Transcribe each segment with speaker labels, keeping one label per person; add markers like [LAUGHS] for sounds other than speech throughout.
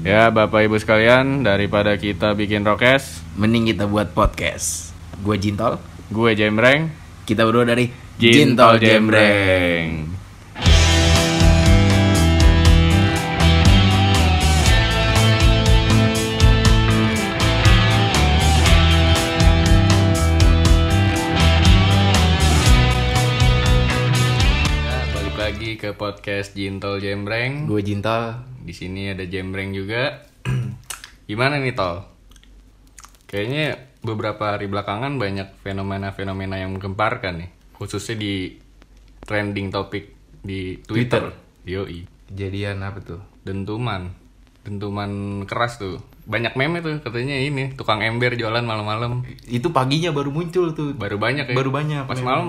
Speaker 1: Ya Bapak Ibu sekalian, daripada kita bikin rokes,
Speaker 2: Mending kita buat podcast. Gue Jintol,
Speaker 1: gue Jemreng,
Speaker 2: kita berdua dari
Speaker 1: Jintol Jemreng. Nah, balik lagi ke podcast Jintol Jemreng.
Speaker 2: Gue Jintol.
Speaker 1: Di sini ada Jemreng juga. [CLEARS THROAT] Gimana nih Tol? Kayaknya beberapa hari belakangan banyak fenomena-fenomena yang menggemparkan nih, khususnya di trending topik di Twitter. Yoi.
Speaker 2: Jadian apa tuh?
Speaker 1: Dentuman. Dentuman keras tuh. Banyak meme tuh katanya ini tukang ember jualan malam-malam.
Speaker 2: Itu paginya baru muncul tuh.
Speaker 1: Baru banyak ya.
Speaker 2: Baru banyak
Speaker 1: Pas
Speaker 2: meme.
Speaker 1: malam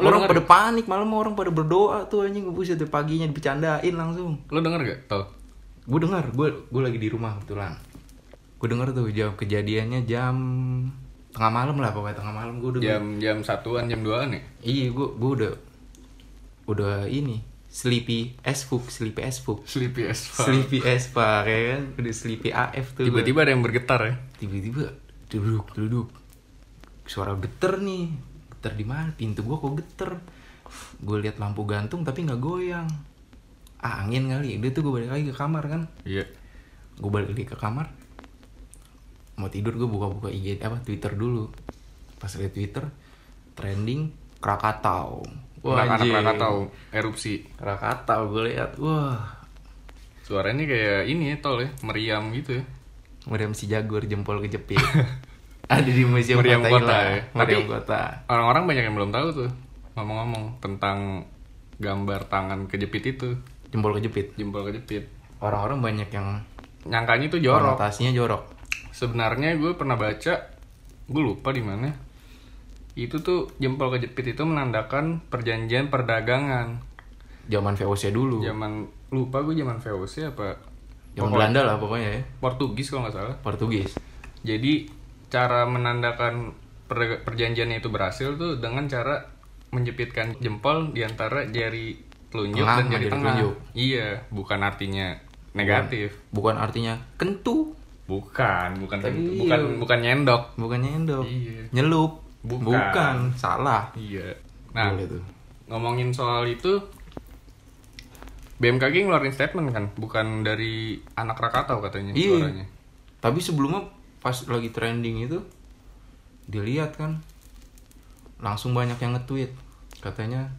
Speaker 1: lo, lo denger,
Speaker 2: orang
Speaker 1: ya?
Speaker 2: pada panik, malam orang pada berdoa tuh anjing buset tuh paginya dibecandain langsung.
Speaker 1: lo denger gak? Tol.
Speaker 2: Gue dengar, gue gue lagi di rumah kebetulan. Gue dengar tuh jam kejadiannya jam tengah malam lah pokoknya tengah malam gue udah
Speaker 1: Jam jam satuan, jam duaan ya? nih.
Speaker 2: Iya, gue gue udah udah ini sleepy as fuck, sleepy as fuck.
Speaker 1: Sleepy as fuck.
Speaker 2: Sleepy as fuck ya kan Udah sleepy AF tuh gua.
Speaker 1: Tiba-tiba ada yang bergetar ya.
Speaker 2: Tiba-tiba Duduk duduk Suara geter nih Geter di mana Pintu gua kok geter Gue lihat lampu gantung tapi nggak goyang ah, Angin kali Udah tuh gue balik lagi ke kamar kan
Speaker 1: Iya.
Speaker 2: Gue balik lagi ke kamar Mau tidur gue buka-buka IG apa Twitter dulu Pas liat Twitter Trending Krakatau Wah,
Speaker 1: Anak-anak
Speaker 2: anjing.
Speaker 1: Krakatau erupsi.
Speaker 2: Krakatau gue lihat Wah
Speaker 1: Suaranya kayak ini ya, tol ya, meriam gitu ya.
Speaker 2: Meriam si Jagur jempol kejepit. [LAUGHS] Ada di Museum
Speaker 1: Meriam
Speaker 2: Kota
Speaker 1: Kota
Speaker 2: Hilang.
Speaker 1: ya.
Speaker 2: Meriam
Speaker 1: Tapi-
Speaker 2: Kota.
Speaker 1: Orang-orang banyak yang belum tahu tuh ngomong-ngomong tentang gambar tangan kejepit itu,
Speaker 2: Jempol kejepit.
Speaker 1: jempol kejepit.
Speaker 2: Orang-orang banyak yang
Speaker 1: Nyangkanya itu jorok.
Speaker 2: konotasinya jorok.
Speaker 1: Sebenarnya gue pernah baca, gue lupa di mana. Itu tuh jempol kejepit itu menandakan perjanjian perdagangan.
Speaker 2: Zaman VOC dulu. Zaman,
Speaker 1: Zaman lupa gue zaman VOC apa
Speaker 2: Belanda lah Iya. pokoknya ya.
Speaker 1: Portugis kalau nggak salah.
Speaker 2: Portugis.
Speaker 1: Jadi cara menandakan per- perjanjiannya itu berhasil tuh dengan cara menjepitkan jempol di antara jari telunjuk
Speaker 2: Tengah
Speaker 1: dan jari
Speaker 2: sama jari
Speaker 1: tengah.
Speaker 2: telunjuk.
Speaker 1: Iya, bukan artinya negatif.
Speaker 2: Bukan artinya kentu.
Speaker 1: Bukan, bukan
Speaker 2: Tapi
Speaker 1: gitu.
Speaker 2: iya.
Speaker 1: bukan bukan nyendok.
Speaker 2: Bukannya endok.
Speaker 1: Iya.
Speaker 2: Nyelup.
Speaker 1: Bukan.
Speaker 2: Salah.
Speaker 1: Iya. Nah,
Speaker 2: Boleh tuh.
Speaker 1: ngomongin soal itu BMKG ngeluarin statement kan, bukan dari anak Krakatau katanya
Speaker 2: Iya.
Speaker 1: suaranya.
Speaker 2: Tapi sebelumnya pas lagi trending itu dilihat kan langsung banyak yang nge-tweet katanya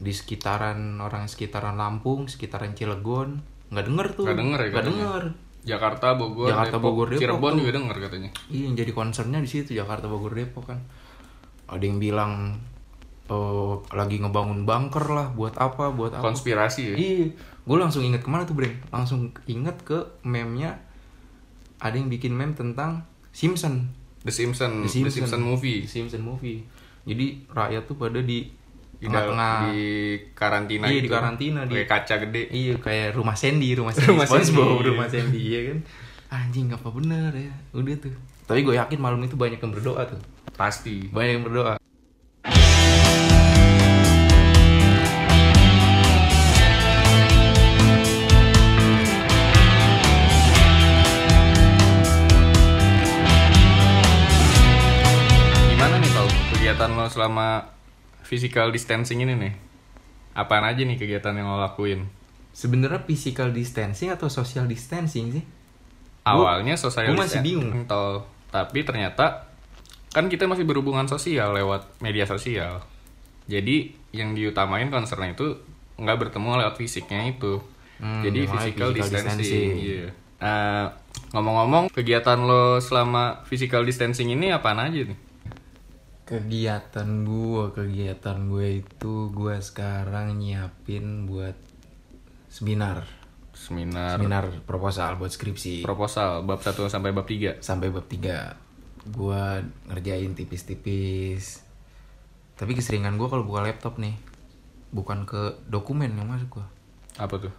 Speaker 2: di sekitaran orang sekitaran Lampung, sekitaran Cilegon nggak denger tuh.
Speaker 1: Nggak denger ya
Speaker 2: Nggak
Speaker 1: katanya.
Speaker 2: denger.
Speaker 1: Jakarta, Bogor,
Speaker 2: Jakarta,
Speaker 1: Depok,
Speaker 2: Bogor, Depok
Speaker 1: Cirebon
Speaker 2: tuh.
Speaker 1: juga denger katanya.
Speaker 2: Iya, yang jadi concernnya di situ Jakarta Bogor Depok kan. Ada yang bilang eh, lagi ngebangun bunker lah buat apa buat apa
Speaker 1: Konspirasi ya.
Speaker 2: Iya, gue langsung inget kemana tuh Breng? Langsung inget ke meme-nya ada yang bikin meme tentang Simpson,
Speaker 1: The Simpsons, The
Speaker 2: The
Speaker 1: Simpsons
Speaker 2: Simpsons.
Speaker 1: movie.
Speaker 2: Simpson movie. Jadi rakyat tuh pada di
Speaker 1: Di, dal-
Speaker 2: tengah-tengah.
Speaker 1: di karantina
Speaker 2: Iya,
Speaker 1: gitu.
Speaker 2: di karantina, di-
Speaker 1: Pakai kaca gede.
Speaker 2: Iya kayak rumah Sandy, [LAUGHS] rumah Sandy
Speaker 1: Rumah Sandy,
Speaker 2: SpongeBob,
Speaker 1: iya.
Speaker 2: rumah Sandy iya kan. Anjing apa bener ya? Udah tuh. Tapi gue yakin malam itu banyak yang berdoa tuh.
Speaker 1: Pasti.
Speaker 2: Banyak yang berdoa.
Speaker 1: Gimana nih tau kegiatan lo selama physical distancing ini nih? Apaan aja nih kegiatan yang lo lakuin?
Speaker 2: Sebenarnya physical distancing atau social distancing sih?
Speaker 1: Awalnya social
Speaker 2: gua masih
Speaker 1: distancing,
Speaker 2: bingung.
Speaker 1: Tol. Tapi ternyata kan kita masih berhubungan sosial lewat media sosial. Jadi yang diutamain concern itu nggak bertemu lewat fisiknya itu.
Speaker 2: Hmm,
Speaker 1: Jadi
Speaker 2: yang lain
Speaker 1: physical,
Speaker 2: physical
Speaker 1: distancing.
Speaker 2: distancing.
Speaker 1: iya. Nah, ngomong-ngomong kegiatan lo selama physical distancing ini apaan aja nih?
Speaker 2: Kegiatan gue, kegiatan gue itu gue sekarang nyiapin buat seminar,
Speaker 1: Seminar,
Speaker 2: seminar proposal buat skripsi
Speaker 1: proposal bab 1 sampai bab 3.
Speaker 2: sampai bab 3 Gue ngerjain tipis-tipis. Tapi keseringan gue kalau buka laptop nih, bukan ke dokumen yang masuk gue,
Speaker 1: Apa tuh?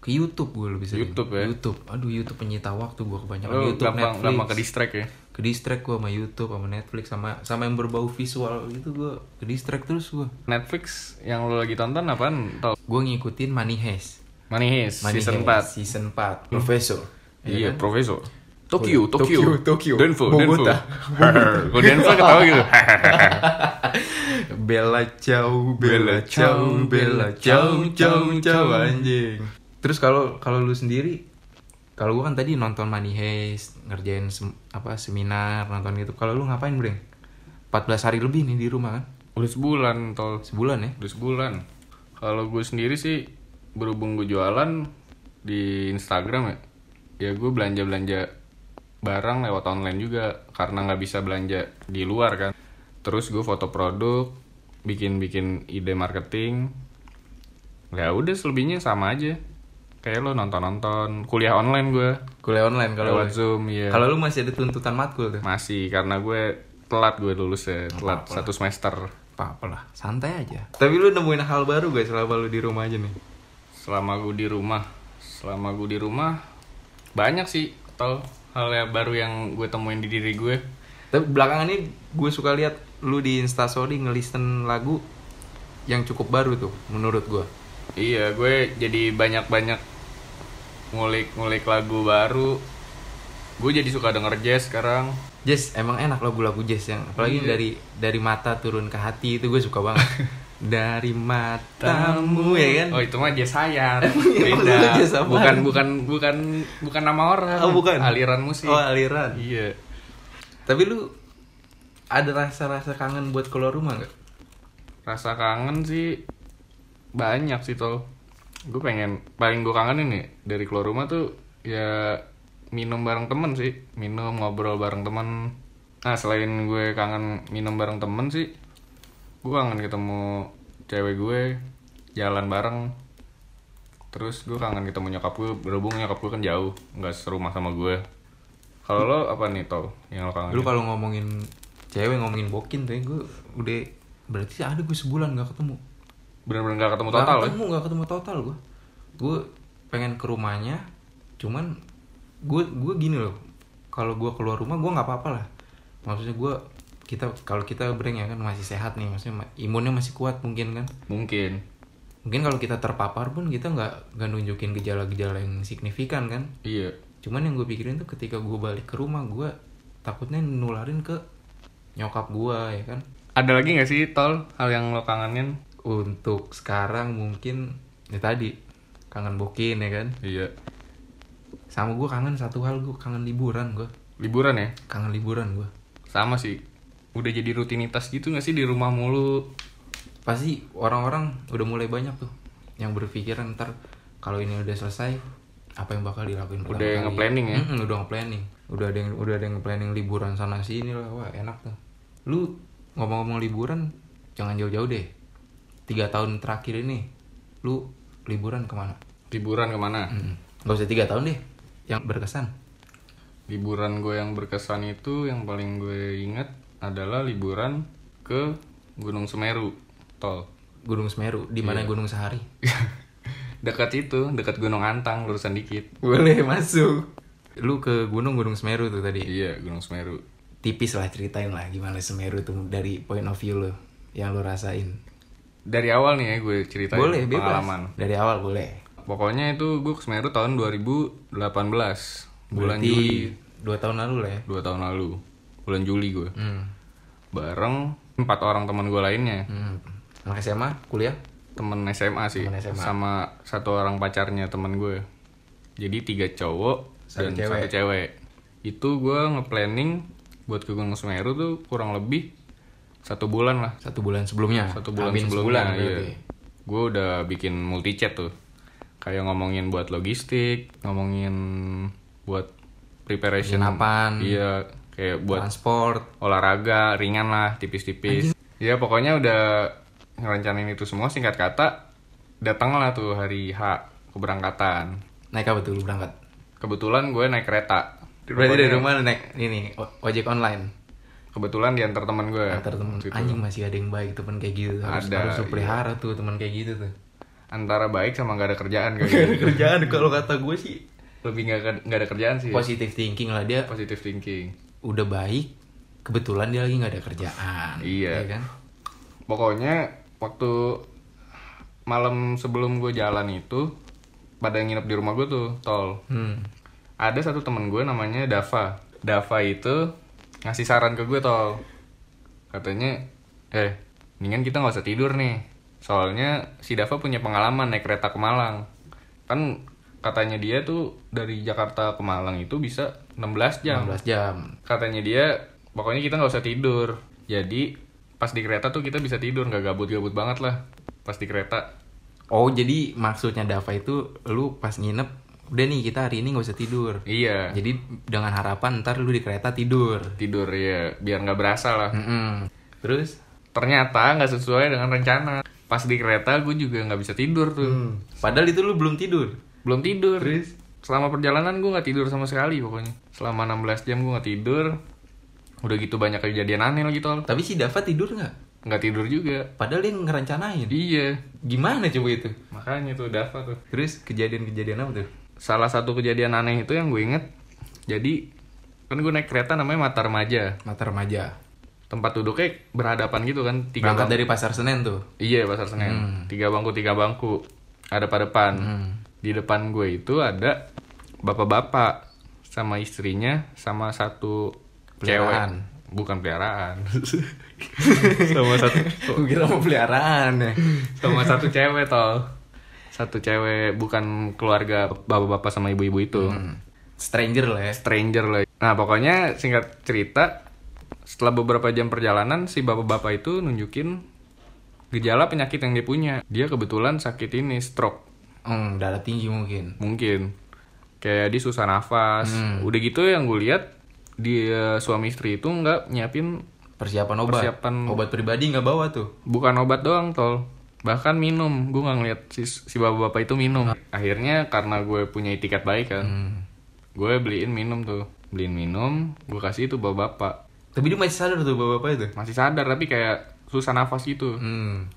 Speaker 2: ke YouTube gue lebih sering.
Speaker 1: YouTube ya?
Speaker 2: YouTube, aduh YouTube penyita waktu gue kebanyakan
Speaker 1: Lo
Speaker 2: YouTube,
Speaker 1: gampang,
Speaker 2: Netflix.
Speaker 1: gampang ke distract ya?
Speaker 2: ke distract gue sama YouTube, sama Netflix, sama sama yang berbau visual gitu gue ke distract terus gue.
Speaker 1: Netflix yang lo lagi tonton apaan? Tol?
Speaker 2: Gue ngikutin Money Heist.
Speaker 1: Manihis,
Speaker 2: Money
Speaker 1: season Hmm.
Speaker 2: Heist,
Speaker 1: 4.
Speaker 2: Season 4.
Speaker 3: Profesor.
Speaker 1: Iya, Profesor. Tokyo,
Speaker 3: Tokyo,
Speaker 1: Tokyo,
Speaker 3: Tokyo.
Speaker 1: Denver,
Speaker 3: Bogota.
Speaker 1: Denver. Kok Denver ketawa gitu?
Speaker 3: Bella ciao, bella ciao, bella ciao, ciao, ciao anjing.
Speaker 2: Terus kalau kalau lu sendiri kalau gua kan tadi nonton Money Heist, ngerjain sem- apa seminar, nonton gitu. Kalau lu ngapain, Breng? 14 hari lebih nih di rumah kan?
Speaker 1: [LAUGHS] Udah sebulan, tol.
Speaker 2: Sebulan ya?
Speaker 1: Udah sebulan. Kalau gue sendiri sih, berhubung gue jualan di Instagram ya, ya gue belanja-belanja barang lewat online juga. Karena nggak bisa belanja di luar kan. Terus gue foto produk, bikin-bikin ide marketing. Ya udah selebihnya sama aja. Kayak lo nonton-nonton, kuliah online gue.
Speaker 2: Kuliah online kalau
Speaker 1: Lewat Zoom, iya.
Speaker 2: Kalau lu masih ada tuntutan matkul tuh.
Speaker 1: Masih, karena gue telat gue lulus ya, telat satu semester.
Speaker 2: Apa lah, santai aja. Tapi lu nemuin hal baru gak selama lu di rumah aja nih?
Speaker 1: Selama gue di rumah, selama gue di rumah banyak sih tol hal yang baru yang gue temuin di diri gue.
Speaker 2: Tapi belakangan ini gue suka lihat lu di Instastory ngelisten lagu yang cukup baru tuh menurut gue.
Speaker 1: Iya, gue jadi banyak-banyak ngulik-ngulik lagu baru. Gue jadi suka denger jazz sekarang.
Speaker 2: Jazz emang enak lagu-lagu jazz yang apalagi
Speaker 1: Iya.
Speaker 2: dari dari mata turun ke hati itu gue suka
Speaker 1: [LAUGHS]
Speaker 2: banget. dari matamu ya kan?
Speaker 1: Oh itu mah jazz sayar.
Speaker 2: [LAUGHS] Emang dulu
Speaker 1: Beda.
Speaker 2: jazz apaan?
Speaker 1: Bukan bukan bukan bukan nama orang.
Speaker 2: Oh, bukan.
Speaker 1: iya. Aliran musik.
Speaker 2: Oh, aliran.
Speaker 1: Iya.
Speaker 2: Tapi lu ada rasa-rasa kangen buat keluar rumah nggak?
Speaker 1: rasa kangen sih banyak sih tol gue pengen paling gue kangen ini dari keluar rumah tuh ya minum bareng temen sih minum ngobrol bareng temen nah selain gue kangen minum bareng temen sih gue kangen ketemu cewek gue jalan bareng terus gue kangen ketemu nyokap gue berhubung nyokap gue kan jauh nggak serumah sama gue kalau lo apa nih tol yang lo kangen
Speaker 2: Lu kalau ngomongin cewek ngomongin bokin tuh gue udah berarti ada gue sebulan nggak ketemu.
Speaker 1: bener-bener gak ketemu
Speaker 2: Nggak
Speaker 1: total ya?
Speaker 2: ketemu nggak ketemu total gue gue pengen ke rumahnya cuman gue gue gini loh kalau gue keluar rumah gue nggak apa-apa lah maksudnya gue kita kalau kita breng ya kan masih sehat nih maksudnya ma- imunnya masih kuat mungkin kan
Speaker 1: ya? mungkin
Speaker 2: mungkin kalau kita terpapar pun kita nggak nggak nunjukin gejala-gejala yang signifikan kan
Speaker 1: iya
Speaker 2: cuman yang gue pikirin tuh ketika gue balik ke rumah gue takutnya nularin ke nyokap gue ya kan
Speaker 1: Ada lagi nggak sih tol hal yang lo kangenin?
Speaker 2: untuk sekarang mungkin ya tadi kangen bokin ya kan
Speaker 1: Iya.
Speaker 2: sama gue kangen satu hal gue kangen liburan gue
Speaker 1: Liburan ya?
Speaker 2: kangen liburan gue
Speaker 1: Sama sih. Udah jadi rutinitas gitu nggak sih di rumah mulu?
Speaker 2: pasti orang-orang udah mulai banyak tuh yang berpikiran ntar kalau ini udah selesai apa yang bakal dilakuin pertama
Speaker 1: Udah
Speaker 2: kali.
Speaker 1: nge-planning ya?
Speaker 2: Mm-mm, udah nge-planning udah ada yang udah ada yang planning liburan sana sini lah wah enak tuh lu ngomong-ngomong liburan jangan jauh-jauh deh tiga tahun terakhir ini lu liburan kemana
Speaker 1: Liburan kemana?
Speaker 2: Mm-mm. nggak usah tiga tahun deh yang berkesan
Speaker 1: Liburan gue yang berkesan itu yang paling gue inget adalah liburan ke Gunung Semeru tol. [LAUGHS]
Speaker 2: Gunung Semeru di
Speaker 1: Iya.
Speaker 2: mana Gunung Sahari
Speaker 1: dekat itu, dekat Gunung Antang, lurusan dikit.
Speaker 2: Boleh masuk. Lu ke gunung Gunung Semeru tuh tadi.
Speaker 1: Iya, Gunung Semeru.
Speaker 2: Tipis lah ceritain lah gimana Semeru tuh dari point of view lu yang lu rasain.
Speaker 1: Dari awal nih ya gue ceritain
Speaker 2: boleh bebas.
Speaker 1: pengalaman.
Speaker 2: Dari awal boleh.
Speaker 1: Pokoknya itu gue ke Semeru tahun 2018 bulan
Speaker 2: Berarti
Speaker 1: Juli
Speaker 2: dua tahun lalu lah ya.
Speaker 1: dua tahun lalu bulan Juli gue.
Speaker 2: Hmm.
Speaker 1: bareng empat orang teman gue lainnya
Speaker 2: Hmm. Anak SMA, kuliah.
Speaker 1: temen SMA sih
Speaker 2: Temen SMA.
Speaker 1: sama satu orang pacarnya temen gue jadi tiga cowok
Speaker 2: Satu
Speaker 1: dan
Speaker 2: cewek.
Speaker 1: satu cewek itu gue ngeplanning buat ke Gunung Semeru tuh kurang lebih satu bulan lah
Speaker 2: Satu bulan sebelumnya.
Speaker 1: satu bulan
Speaker 2: Hamin
Speaker 1: sebelumnya iya.
Speaker 2: sebulan berarti.
Speaker 1: gue udah bikin multi chat tuh kayak ngomongin buat logistik ngomongin buat preparation
Speaker 2: Penginapan.
Speaker 1: iya kayak buat
Speaker 2: Transport.
Speaker 1: olahraga ringan lah tipis-tipis ya pokoknya udah ngerencanain itu semua singkat kata datanglah tuh hari H keberangkatan
Speaker 2: Naik apa tuh lu berangkat?
Speaker 1: kebetulan gue naik kereta
Speaker 2: Berarti dari
Speaker 1: Pokoknya
Speaker 2: rumah lu naik ini o- ojek online.
Speaker 1: kebetulan diantar teman gue
Speaker 2: Antar temen
Speaker 1: Waktu itu.
Speaker 2: anjing masih ada yang baik temen kayak gitu.
Speaker 1: Iya,
Speaker 2: Harus,
Speaker 1: Ada,
Speaker 2: harus lu pelihara tuh temen kayak gitu tuh.
Speaker 1: antara baik sama gak ada kerjaan
Speaker 2: [LAUGHS]
Speaker 1: kayak gitu.
Speaker 2: Kerjaan kalau kata gue sih
Speaker 1: lebih gak, ke- gak ada kerjaan sih
Speaker 2: positive thinking lah dia
Speaker 1: positive thinking
Speaker 2: udah baik kebetulan dia lagi nggak ada kerjaan
Speaker 1: Iya.
Speaker 2: ya kan
Speaker 1: pokoknya waktu malam sebelum gue jalan itu pada nginep di rumah gue tuh tol
Speaker 2: Hmm.
Speaker 1: ada satu temen gue namanya Dava Dava itu ngasih saran ke gue tol katanya eh mendingan kita nggak usah tidur nih soalnya si Dava punya pengalaman naik kereta ke Malang kan katanya dia tuh dari Jakarta ke Malang itu bisa 16 jam
Speaker 2: 16 jam.
Speaker 1: katanya dia pokoknya kita nggak usah tidur jadi pas di kereta tuh kita bisa tidur nggak gabut-gabut banget lah pas di kereta
Speaker 2: Oh, jadi maksudnya Dava itu lu pas nginep udah nih kita hari ini nggak usah tidur.
Speaker 1: iya
Speaker 2: Jadi dengan harapan ntar lu di kereta tidur.
Speaker 1: tidur ya biar nggak berasa lah
Speaker 2: Mm-mm. Terus
Speaker 1: ternyata nggak sesuai dengan rencana pas di kereta gue juga nggak bisa tidur tuh
Speaker 2: Hmm. padahal itu lu belum tidur.
Speaker 1: belum tidur selama perjalanan gue nggak tidur sama sekali pokoknya selama 16 jam gue nggak tidur udah gitu banyak kejadian aneh lagi tol
Speaker 2: Tapi si Dava tidur nggak?
Speaker 1: nggak tidur juga
Speaker 2: Padahal dia ngerencanain.
Speaker 1: iya
Speaker 2: Gimana coba itu?
Speaker 1: makanya tuh Dava tuh
Speaker 2: Terus kejadian-kejadian apa tuh?
Speaker 1: salah satu kejadian aneh itu yang gue inget jadi kan gue naik kereta namanya Mata Remaja
Speaker 2: Mata remaja.
Speaker 1: tempat duduknya berhadapan gitu kan tiga
Speaker 2: Berangkat
Speaker 1: bangku
Speaker 2: dari pasar Senen
Speaker 1: [LAUGHS]
Speaker 2: tuh.
Speaker 1: iya pasar Senen tiga bangku tiga bangku ada pada depan di depan gue itu ada bapak-bapak sama istrinya sama satu
Speaker 2: Peliharaan.
Speaker 1: cewek bukan peliharaan [LAUGHS] sama satu
Speaker 2: Gue kira mau peliharaan ya.
Speaker 1: sama satu cewek tol satu cewek bukan keluarga bapak-bapak sama ibu-ibu itu
Speaker 2: Hmm. Stranger lah ya.
Speaker 1: stranger lah. Nah pokoknya singkat cerita setelah beberapa jam perjalanan si bapak-bapak itu nunjukin gejala penyakit yang dia punya. Dia kebetulan sakit ini stroke
Speaker 2: Hmm, darah tinggi mungkin.
Speaker 1: mungkin kayak dia susah nafas. Udah gitu yang gue lihat dia suami istri itu nggak nyiapin
Speaker 2: Persiapan obat.
Speaker 1: Persiapan-
Speaker 2: Obat pribadi nggak bawa tuh.
Speaker 1: bukan obat doang tol bahkan minum gue nggak ngeliat si, si bapak-bapak itu minum akhirnya karena gue punya tiket baik kan gue beliin minum tuh beliin minum gue kasih itu bapak-bapak
Speaker 2: Tapi dia masih sadar tuh bapak-bapak itu.
Speaker 1: masih sadar tapi kayak susah nafas gitu
Speaker 2: Hmm.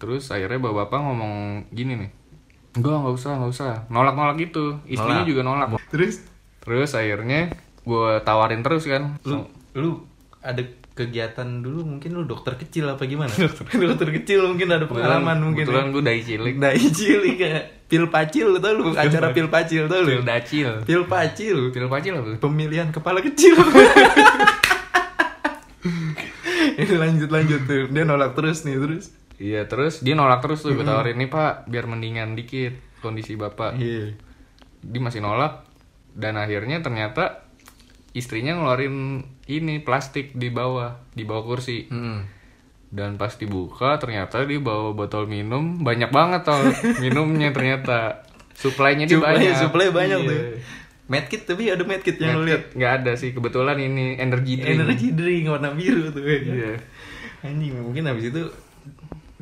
Speaker 1: terus akhirnya bapak-bapak ngomong gini nih enggak nggak usah nggak usah nolak nolak gitu istrinya
Speaker 2: Nolak.
Speaker 1: juga nolak
Speaker 2: Terus
Speaker 1: terus akhirnya gue tawarin terus kan
Speaker 2: lu lu ada kegiatan dulu mungkin lu dokter kecil apa gimana? [LAUGHS] dokter kecil mungkin ada pengalaman mungkin. ya.
Speaker 1: kebetulan gue dari cilik
Speaker 2: Nah, icil kayak pil pacil tau lu acara pil pacil tau
Speaker 1: pil
Speaker 2: lu.
Speaker 1: dacil
Speaker 2: Pil pacil,
Speaker 1: pil pacil apa tuh?
Speaker 2: pemilihan kepala kecil. [LAUGHS] Ini lanjut lanjut tuh. Dia nolak terus nih terus.
Speaker 1: iya terus dia nolak terus tuh gue tawarin nih pak biar mendingan dikit kondisi bapak
Speaker 2: Iya.
Speaker 1: dia masih nolak dan akhirnya ternyata istrinya ngeluarin ini plastik di bawah di bawah kursi
Speaker 2: Hmm.
Speaker 1: dan pas dibuka ternyata dia bawa botol minum banyak banget tol minumnya ternyata suplainya dia
Speaker 2: Supply,
Speaker 1: banyak
Speaker 2: supply banyak
Speaker 1: Iya.
Speaker 2: tuh. Medkit tapi ada medkit yang lu lihat.
Speaker 1: nggak ada sih kebetulan ini energy drink
Speaker 2: Energy drink warna biru tuh. ya kan?
Speaker 1: Iya.
Speaker 2: Anjing mungkin habis itu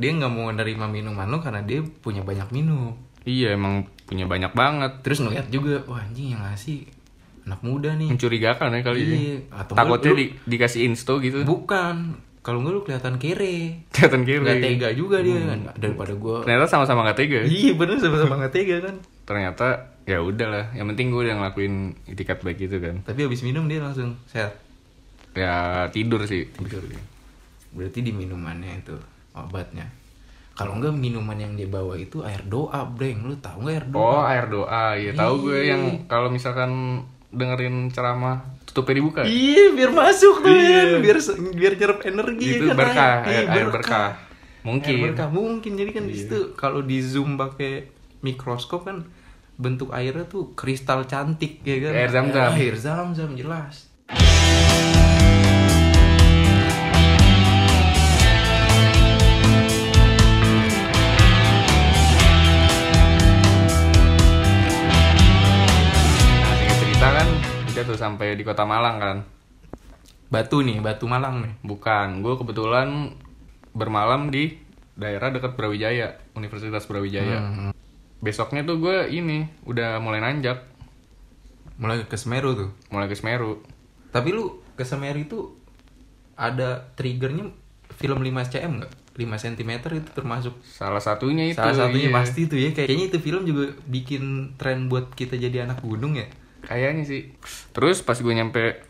Speaker 2: dia nggak mau nerima minuman lu karena dia punya banyak minum.
Speaker 1: iya emang punya banyak banget
Speaker 2: Terus ngeliat juga, wah anjing yang ngasih anak muda nih.
Speaker 1: mencurigakan ya kali ini
Speaker 2: Iya. Atau
Speaker 1: takutnya
Speaker 2: lu-
Speaker 1: di- dikasih insto gitu
Speaker 2: Bukan. Kalau nggak lu kelihatan kere.
Speaker 1: kelihatan kiri
Speaker 2: Nggak tega juga
Speaker 1: Hmm.
Speaker 2: dia kan daripada gua.
Speaker 1: ternyata sama-sama nggak tega
Speaker 2: Iya bener sama-sama nggak tega kan.
Speaker 1: ternyata ya udahlah yang penting gue udah ngelakuin itikat baik gitu kan
Speaker 2: Tapi habis minum dia langsung sehat.
Speaker 1: ya tidur sih
Speaker 2: Berarti di minumannya itu obatnya. Kalau nggak minuman yang dia bawa itu air doa, breng. Lu tahu nggak air doa?
Speaker 1: Oh air doa, ya tahu gue
Speaker 2: Iya.
Speaker 1: yang kalau misalkan dengerin ceramah tutupnya dibuka.
Speaker 2: Iya, biar masuk tuh kan, biar biar nyerap energi
Speaker 1: itu
Speaker 2: ya kan.
Speaker 1: berkah,
Speaker 2: Iya,
Speaker 1: air, air berkah.
Speaker 2: Air
Speaker 1: Mungkin Iya.
Speaker 2: berkah mungkin jadi kan di situ kalau di zoom pakai mikroskop kan bentuk airnya tuh kristal cantik ya kan.
Speaker 1: Air zam-zam.
Speaker 2: Air zam-zam jelas.
Speaker 1: Nah, singkat cerita kan kita tuh sampai di kota Malang kan.
Speaker 2: Batu nih, Batu Malang nih.
Speaker 1: Bukan, gue kebetulan bermalam di daerah dekat Brawijaya, Universitas
Speaker 2: Hmm,
Speaker 1: Brawijaya. Besoknya tuh gue ini udah mulai nanjak,
Speaker 2: Mulai ke Semeru tuh.
Speaker 1: mulai ke Semeru.
Speaker 2: Tapi lu ke Semeru itu ada triggernya film 5 cm nggak? 5 cm itu termasuk
Speaker 1: Salah satunya itu.
Speaker 2: salah satunya
Speaker 1: iya.
Speaker 2: pasti tuh ya kayaknya itu film juga bikin tren buat kita jadi anak gunung ya
Speaker 1: Kayaknya sih. Terus pas gue nyampe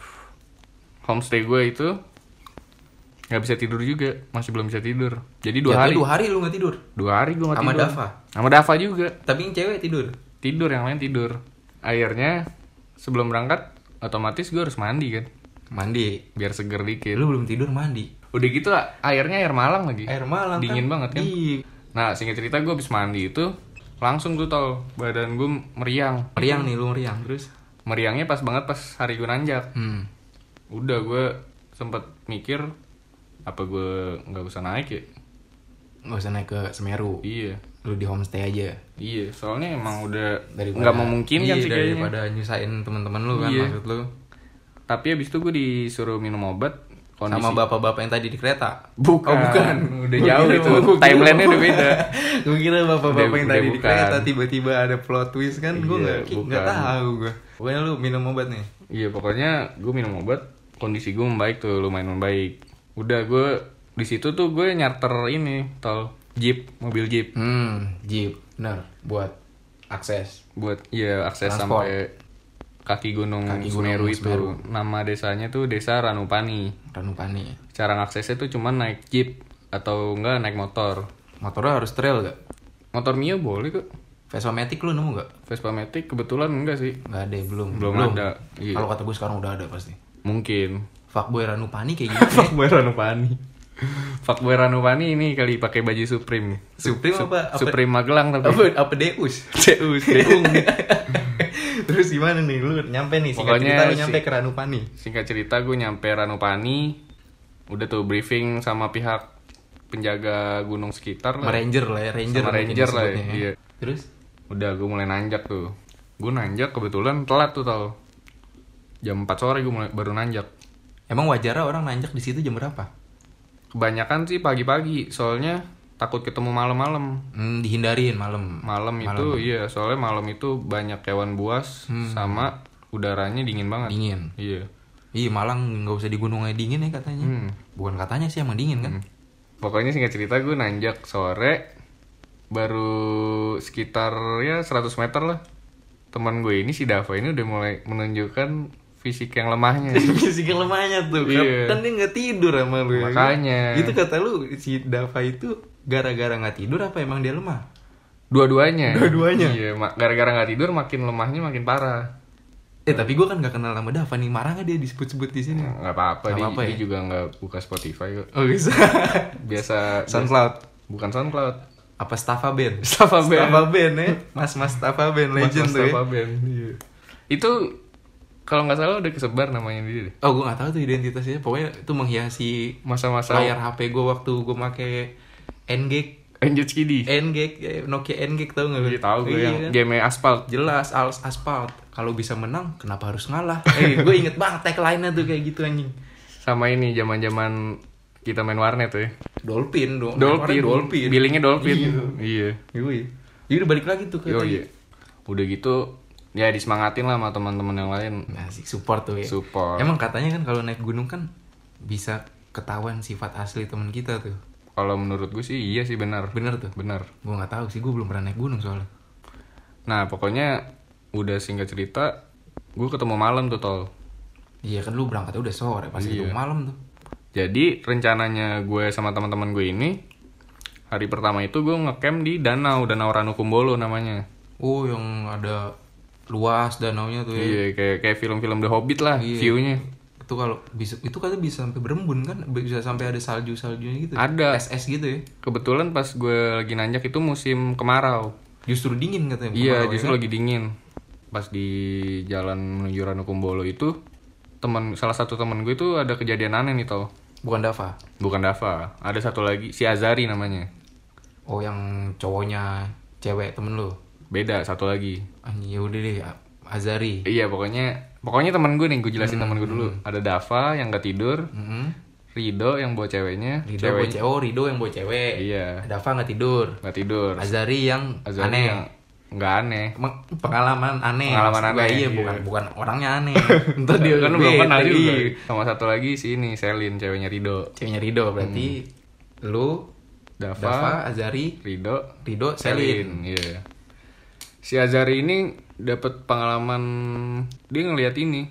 Speaker 1: homestay gue itu nggak bisa tidur juga, masih belum bisa tidur. Jadi dua
Speaker 2: Jatuhnya
Speaker 1: hari,
Speaker 2: dua hari lu nggak tidur
Speaker 1: dua hari gue nggak
Speaker 2: Sama
Speaker 1: tidur.
Speaker 2: Dava?
Speaker 1: Sama Dava juga.
Speaker 2: tapi yang cewek tidur
Speaker 1: tidur yang lain tidur akhirnya sebelum berangkat otomatis gue harus mandi kan
Speaker 2: Mandi. Ya,
Speaker 1: biar seger dikit
Speaker 2: Lu belum tidur mandi.
Speaker 1: udah gitu lah, airnya air malang lagi
Speaker 2: Air malam
Speaker 1: dingin
Speaker 2: kan?
Speaker 1: banget kan
Speaker 2: Iya.
Speaker 1: nah singkat cerita gue habis mandi itu langsung tuh tol badan gue meriang
Speaker 2: Meriang nih lu meriang terus.
Speaker 1: meriangnya pas banget pas hari gue nanjak
Speaker 2: Hmm.
Speaker 1: udah gue sempet mikir apa gue nggak usah naik ya
Speaker 2: Gak usah naik ke Semeru.
Speaker 1: iya
Speaker 2: Lu di homestay aja.
Speaker 1: iya soalnya emang udah
Speaker 2: Daripada-
Speaker 1: nggak memungkinkan
Speaker 2: Iya,
Speaker 1: sih kayaknya
Speaker 2: daripada nyusahin teman-teman lu kan
Speaker 1: Iya.
Speaker 2: maksud lu.
Speaker 1: tapi abis itu gue disuruh minum obat kondisi
Speaker 2: Sama bapak-bapak yang tadi di kereta.
Speaker 1: bukan.
Speaker 2: Oh, bukan.
Speaker 1: udah jauh
Speaker 2: Gua kira-
Speaker 1: itu
Speaker 2: gua kira-
Speaker 1: timelinenya udah beda
Speaker 2: gue kira
Speaker 1: Udah-
Speaker 2: bapak-bapak yang
Speaker 1: udah
Speaker 2: tadi di
Speaker 1: bukan.
Speaker 2: kereta tiba-tiba ada plot twist kan gue
Speaker 1: Iya,
Speaker 2: nggak ki- nggak
Speaker 1: bukan.
Speaker 2: tahu gue pokoknya lu minum obat nih
Speaker 1: Iya pokoknya gue minum obat kondisi gue membaik tuh lumayan membaik. Udah gue di situ tuh gue nyarter ini tol jeep mobil jeep
Speaker 2: hmm jeep benar buat akses
Speaker 1: buat ya akses
Speaker 2: Transport.
Speaker 1: sampai kaki gunung,
Speaker 2: Kaki Gunung
Speaker 1: Semeru itu.
Speaker 2: Semeru.
Speaker 1: Nama desanya tuh desa Ranupani.
Speaker 2: Ranupani
Speaker 1: Cara ngaksesnya tuh cuman naik jeep atau enggak naik motor.
Speaker 2: motornya harus trail gak
Speaker 1: Motor Mio boleh kok.
Speaker 2: Vespa Matic lu nemu gak
Speaker 1: Vespa Matic kebetulan enggak sih?
Speaker 2: nggak ada belum
Speaker 1: Belum ada, iya.
Speaker 2: kalau kata gue sekarang udah ada pasti [LAUGHS]
Speaker 1: Mungkin.
Speaker 2: fuckboy Ranupani kayak gitu
Speaker 1: Fuckboy Ranupani. Fuckboy Ranupani ini kali pakai baju Supreme.
Speaker 2: [LAUGHS] Supreme apa apa
Speaker 1: Supreme Magelang tapi. [LAUGHS]
Speaker 2: apa, apa Deus
Speaker 1: Deus, Deung.
Speaker 2: terus gimana nih lu nyampe nih singkat
Speaker 1: Pokoknya
Speaker 2: cerita lu
Speaker 1: si-
Speaker 2: nyampe ke Ranupani
Speaker 1: Singkat cerita gue nyampe Ranupani, udah tuh briefing sama pihak penjaga gunung sekitar
Speaker 2: Sama
Speaker 1: lah.
Speaker 2: ranger lah ya ranger
Speaker 1: Sama
Speaker 2: mungkin
Speaker 1: ranger lah ya,
Speaker 2: disebutnya
Speaker 1: iya.
Speaker 2: terus
Speaker 1: Udah gue mulai nanjak tuh. Gue nanjak kebetulan telat tuh tau. Jam 4 sore gue mulai baru nanjak.
Speaker 2: emang wajarnya orang nanjak di situ jam berapa
Speaker 1: Kebanyakan sih pagi-pagi, soalnya takut ketemu malam-malam.
Speaker 2: Hmm, dihindarin malam.
Speaker 1: Malam itu iya, soalnya malam itu banyak hewan buas sama udaranya Hmm. dingin banget.
Speaker 2: Dingin.
Speaker 1: Iya.
Speaker 2: Ih, Malang nggak usah di gunungnya dingin ya katanya.
Speaker 1: Hmm.
Speaker 2: Bukan katanya sih emang dingin kan.
Speaker 1: Pokoknya singkat cerita gue nanjak sore baru sekitar ya 100 meter lah. Teman gue ini si Dava ini udah mulai menunjukkan fisik yang lemahnya.
Speaker 2: [LAUGHS]
Speaker 1: [LAUGHS]
Speaker 2: Fisik lemahnya tuh.
Speaker 1: Iya.
Speaker 2: Kan dia nggak tidur sama lu. ya.
Speaker 1: Makanya.
Speaker 2: Itu kata lu si Dava itu gara-gara nggak tidur apa emang dia lemah?
Speaker 1: Dua-duanya.
Speaker 2: Dua-duanya?
Speaker 1: Iya, ma- gara-gara nggak tidur makin lemahnya makin parah.
Speaker 2: Eh tapi gua kan nggak kenal sama Dava nih. Marah nggak dia disebut-sebut di sini?
Speaker 1: Nggak apa-apa,
Speaker 2: Nggak
Speaker 1: dia,
Speaker 2: apa-apa
Speaker 1: dia
Speaker 2: ya?
Speaker 1: juga nggak buka Spotify kok.
Speaker 2: Oh bisa. [LAUGHS]
Speaker 1: Biasa
Speaker 2: SoundCloud.
Speaker 1: bukan SoundCloud.
Speaker 2: [LAUGHS] Apa Staffa Band?
Speaker 1: Staffa Band.
Speaker 2: Staffa Band ya. Mas-mas Staffa Band legend
Speaker 1: Mas
Speaker 2: tuh ya.
Speaker 1: Mustafa Band. Iya. Itu kalau nggak salah udah kesebar namanya dia deh.
Speaker 2: Oh gua nggak tahu tuh identitasnya. Pokoknya itu menghiasi
Speaker 1: Masa-masa
Speaker 2: layar HP gua waktu gua make N-Gag
Speaker 1: Angel Kidi.
Speaker 2: N-Gag, eh, Nokia N-Gag tau gak?
Speaker 1: Iya tahu gue yang game aspal.
Speaker 2: kan? Jelas, als asfalt. Kalau bisa menang, kenapa harus ngalah? Eh, gue inget banget tagline-nya tuh kayak gitu anjing.
Speaker 1: Sama ini zaman-zaman kita main warnet tuh ya.
Speaker 2: Dolphin dong.
Speaker 1: Dolphin,
Speaker 2: Kemarin Oh, Dolphin.
Speaker 1: Billingnya Dolphin. Iya.
Speaker 2: Yoi. Jadi udah balik lagi tuh ke
Speaker 1: Yo, iya.
Speaker 2: tadi.
Speaker 1: Udah gitu ya disemangatin lah sama teman-teman yang lain.
Speaker 2: Asik, support tuh ya.
Speaker 1: Support.
Speaker 2: Emang katanya kan kalau naik gunung kan bisa ketahuan sifat asli temen kita tuh.
Speaker 1: Kalau menurut gue sih iya sih benar.
Speaker 2: Bener tuh.
Speaker 1: Benar.
Speaker 2: Gue nggak tahu sih, gue belum pernah naik gunung soalnya.
Speaker 1: Nah, pokoknya udah singkat cerita gue ketemu malam tuh tol.
Speaker 2: Iya kan lu berangkatnya udah sore, pasti
Speaker 1: Iya.
Speaker 2: itu malam tuh.
Speaker 1: Jadi rencananya gue sama teman-teman gue ini hari pertama itu gue ngecamp di danau, danau Ranukumbolo namanya.
Speaker 2: Oh, yang ada luas danaunya tuh ya.
Speaker 1: Iya, kayak kayak film-film The Hobbit lah
Speaker 2: Iya.
Speaker 1: view-nya.
Speaker 2: itu kalau bisa itu katanya bisa sampai berembun kan bisa sampai ada salju saljunya gitu
Speaker 1: Ada.
Speaker 2: SS gitu ya
Speaker 1: Kebetulan pas gue lagi nanjak itu musim kemarau.
Speaker 2: justru dingin katanya
Speaker 1: Iya,
Speaker 2: kemarau ya.
Speaker 1: justru lagi dingin. Pas di jalan menuju Ranukumbolo itu teman salah satu teman gue itu ada kejadian aneh nih tau.
Speaker 2: bukan Dava
Speaker 1: Bukan Dava, ada satu lagi si Azari namanya.
Speaker 2: oh yang cowoknya cewek temen lu
Speaker 1: Beda satu lagi.
Speaker 2: anjing ya udah deh A- Azari
Speaker 1: Iya pokoknya pokoknya teman gue nih gue
Speaker 2: Hmm,
Speaker 1: jelasin teman gue dulu. Ada Dava yang gak tidur,
Speaker 2: Mm-mm.
Speaker 1: Rido yang bawa ceweknya,
Speaker 2: Hmm. Mm-hmm. Rido
Speaker 1: cewek
Speaker 2: bawa cewek oh Rido yang bawa cewek
Speaker 1: Iya.
Speaker 2: Dava nggak tidur
Speaker 1: gak tidur.
Speaker 2: Azari yang
Speaker 1: Azari
Speaker 2: aneh
Speaker 1: yang nggak aneh.
Speaker 2: Emang pengalaman aneh
Speaker 1: Pengalaman
Speaker 2: Maksud gua,
Speaker 1: aneh,
Speaker 2: iya,
Speaker 1: iya.
Speaker 2: bukan bukan orangnya
Speaker 1: [LAUGHS]
Speaker 2: aneh ntar dia
Speaker 1: kan lu belum
Speaker 2: bete,
Speaker 1: kenal juga.
Speaker 2: iya.
Speaker 1: Sama satu lagi si ini Selin ceweknya Rido.
Speaker 2: ceweknya Rido berarti lu
Speaker 1: Dava,
Speaker 2: Hmm. Dava Azari
Speaker 1: Rido,
Speaker 2: Rido Selin
Speaker 1: Selin, iya. Si Azari ini dapat pengalaman dia ngelihat ini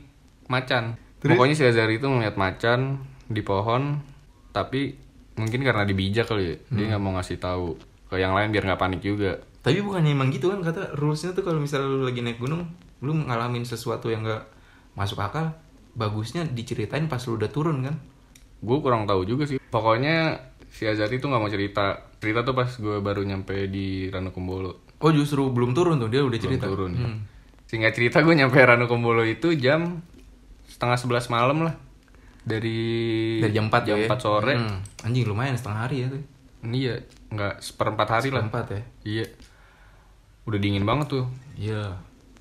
Speaker 1: macan. Pokoknya si Azari itu ngelihat macan di pohon, tapi mungkin karena dibijak kali ya, dia nggak mau ngasih tahu ke yang lain biar nggak panik juga.
Speaker 2: tapi bukannya emang gitu kan kata rulesnya tuh kalau misalnya lu lagi naik gunung lu ngalamin sesuatu yang gak masuk akal bagusnya diceritain pas lu udah turun kan
Speaker 1: gue kurang tahu juga sih pokoknya si Azari tuh nggak mau cerita cerita tuh pas gue baru nyampe di Ranukumbolo
Speaker 2: oh justru belum turun tuh dia udah cerita
Speaker 1: turun ya.
Speaker 2: Hmm.
Speaker 1: singkat cerita gue nyampe Ranukumbolo itu jam setengah sebelas malam lah dari
Speaker 2: dari jam 4
Speaker 1: jam 4 sore
Speaker 2: anjing lumayan setengah hari ya tuh
Speaker 1: iya nggak seperempat hari lah
Speaker 2: jam 4 ya
Speaker 1: iya udah dingin banget tuh
Speaker 2: iya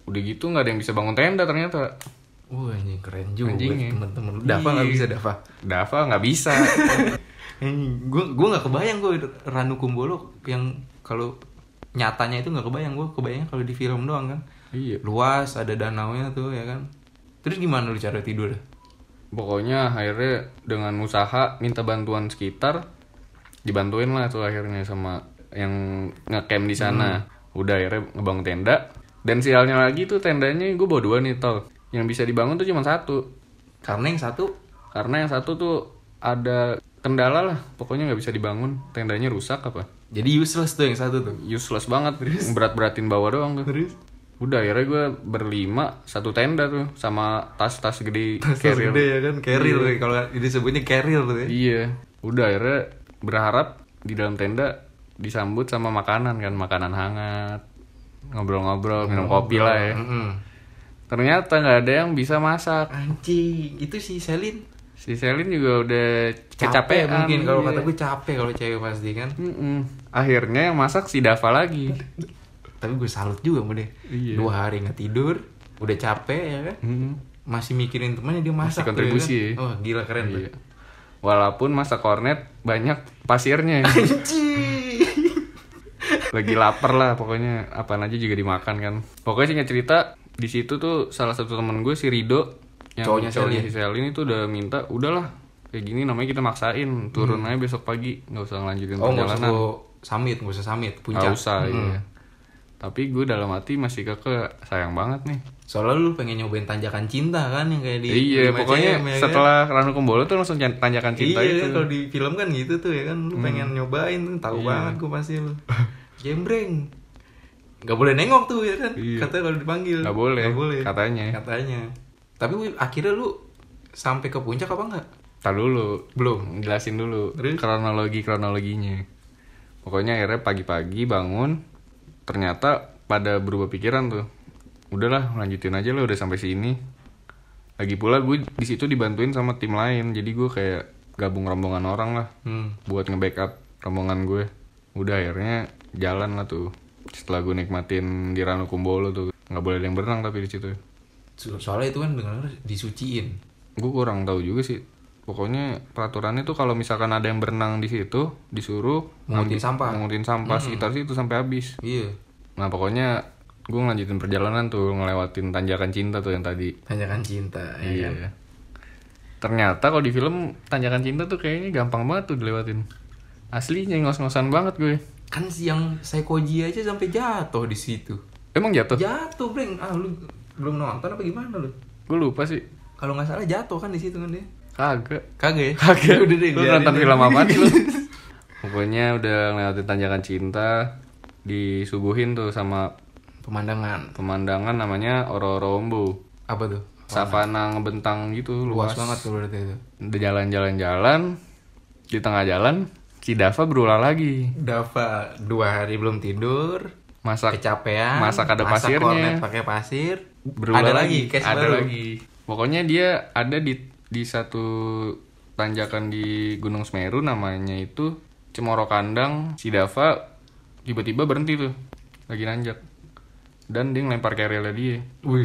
Speaker 1: udah gitu nggak ada yang bisa bangun tenda ternyata
Speaker 2: wah anjing ya. keren juga
Speaker 1: Anjingnya.
Speaker 2: temen-temen lu Dafa nggak
Speaker 1: Iya.
Speaker 2: bisa Dafa
Speaker 1: Dava nggak bisa
Speaker 2: anjing gue gue nggak kebayang gue Ranu Kumbolo yang kalau nyatanya itu nggak kebayang gue kebayang kalau di film doang kan
Speaker 1: iya
Speaker 2: luas ada danau nya tuh ya kan terus gimana lu cara tidur
Speaker 1: pokoknya akhirnya dengan usaha minta bantuan sekitar dibantuin lah tuh akhirnya sama yang ngecamp di sana udah akhirnya ngebangun tenda dan sialnya lagi tuh tendanya gue bawa dua nih tol yang bisa dibangun tuh cuma satu
Speaker 2: karena yang satu
Speaker 1: karena yang satu tuh ada kendala lah pokoknya nggak bisa dibangun tendanya rusak apa
Speaker 2: jadi useless tuh yang satu tuh
Speaker 1: useless banget berat-beratin bawah doang tuh
Speaker 2: terus
Speaker 1: udah akhirnya gue berlima satu tenda tuh sama tas-tas gede
Speaker 2: terus
Speaker 1: carrier.
Speaker 2: gede ya kan carrier kalau disebutnya carrier tuh ya
Speaker 1: Iya, udah akhirnya berharap di dalam tenda disambut sama makanan kan, makanan hangat, ngobrol-ngobrol, minum kopi lah ya.
Speaker 2: Mm-mm.
Speaker 1: Ternyata nggak ada yang bisa masak.
Speaker 2: anjing itu si Selin
Speaker 1: Si Selin juga udah
Speaker 2: capek
Speaker 1: kecapean.
Speaker 2: mungkin kalau
Speaker 1: iya.
Speaker 2: kata gue capek kalau cewek pasti kan
Speaker 1: Mm-mm. Akhirnya yang masak si Dava lagi.
Speaker 2: tapi gue salut juga sama dia
Speaker 1: Iya.
Speaker 2: dua hari nggak tidur udah capek ya kan
Speaker 1: Mm.
Speaker 2: masih mikirin temannya dia masak tuh,
Speaker 1: kontribusi
Speaker 2: ya
Speaker 1: ya.
Speaker 2: kan? oh gila keren tuh.
Speaker 1: Iya. Walaupun masak kornet banyak pasirnya. ya. Lagi lapar lah pokoknya apaan aja juga dimakan kan. Pokoknya singkat cerita di situ tuh salah satu temen gue si Rido yang
Speaker 2: Cowoknya Selin.
Speaker 1: si Selin itu udah minta udahlah kayak gini namanya kita maksain turun aja besok pagi nggak usah ngelanjutin
Speaker 2: Hmm. oh nggak usah
Speaker 1: perjalanan.
Speaker 2: gua summit nggak usah summit puncak Hmm.
Speaker 1: Nggak usah iya. Tapi gue dalam hati masih keke sayang banget nih.
Speaker 2: soalnya lu pengen nyobain tanjakan cinta kan yang kayak di
Speaker 1: iya,
Speaker 2: di
Speaker 1: pokoknya
Speaker 2: MCM, ya kan?
Speaker 1: setelah Ranu Kumbolo tuh langsung tanjakan cinta itu. Hmm.
Speaker 2: iya,
Speaker 1: Iya.
Speaker 2: kan, kalau di film kan gitu tuh ya kan lu pengen nyobain tuh, tahu banget gue pasti
Speaker 1: [LAUGHS]
Speaker 2: lu jembreng nggak boleh nengok tuh ya kan
Speaker 1: Iya.
Speaker 2: katanya kalau dipanggil
Speaker 1: Nggak boleh,
Speaker 2: nggak boleh
Speaker 1: katanya.
Speaker 2: katanya tapi Wil, akhirnya lu sampai ke puncak apa enggak
Speaker 1: Tar dulu,
Speaker 2: belum
Speaker 1: jelasin dulu
Speaker 2: Terus?
Speaker 1: kronologi kronologinya pokoknya akhirnya pagi-pagi bangun ternyata pada berubah pikiran tuh udahlah lanjutin aja lah udah sampai sini lagi pula gue di situ dibantuin sama tim lain jadi gue kayak gabung rombongan orang lah
Speaker 2: hmm.
Speaker 1: buat nge-backup rombongan gue udah akhirnya jalan lah tuh setelah gue nikmatin di Ranu Kumbolo tuh nggak boleh ada yang berenang tapi di situ
Speaker 2: So- soalnya itu kan dengar disuciin
Speaker 1: gue kurang tahu juga sih pokoknya peraturannya tuh kalau misalkan ada yang berenang di situ disuruh ngunti-
Speaker 2: Mengutin sampah.
Speaker 1: mengutin sampah sekitar situ sampai habis
Speaker 2: iya
Speaker 1: nah pokoknya gue ngelanjutin perjalanan tuh ngelewatin tanjakan cinta tuh yang tadi Iya.
Speaker 2: tanjakan cinta ya kan?
Speaker 1: ternyata kalau di film tanjakan cinta tuh kayaknya gampang banget tuh dilewatin aslinya ngos-ngosan banget gue
Speaker 2: kan si yang Seikoji aja sampai jatuh di situ
Speaker 1: emang
Speaker 2: Ya.
Speaker 1: jatuh
Speaker 2: jatuh breng ah lu belum nonton apa gimana lu
Speaker 1: gue lupa sih
Speaker 2: kalau nggak salah jatuh kan di situ kan dia
Speaker 1: kagak
Speaker 2: kagak ya
Speaker 1: Kagak
Speaker 2: udah deh
Speaker 1: Lu
Speaker 2: biarin
Speaker 1: nonton
Speaker 2: deh.
Speaker 1: film apa sih lu? Pokoknya udah ngelewatin tanjakan cinta Disuguhin tuh sama
Speaker 2: pemandangan
Speaker 1: pemandangan namanya Ororombo
Speaker 2: apa tuh
Speaker 1: Savana ngebentang gitu
Speaker 2: luas
Speaker 1: luas,
Speaker 2: banget tuh berarti itu
Speaker 1: Udah jalan-jalan-jalan Di tengah jalan Si Dava berulah lagi
Speaker 2: Dava dua hari belum tidur
Speaker 1: Masak
Speaker 2: kecapean
Speaker 1: masak ada pasirnya.
Speaker 2: kornet pakai pasir
Speaker 1: berulah
Speaker 2: ada lagi, cash
Speaker 1: Ada
Speaker 2: baru.
Speaker 1: lagi Pokoknya dia ada di, di satu tanjakan di Gunung Semeru namanya itu Cemoro Kandang Si Dava tiba-tiba berhenti tuh lagi nanjak dan dia ngelempar carrier dia
Speaker 2: Wih,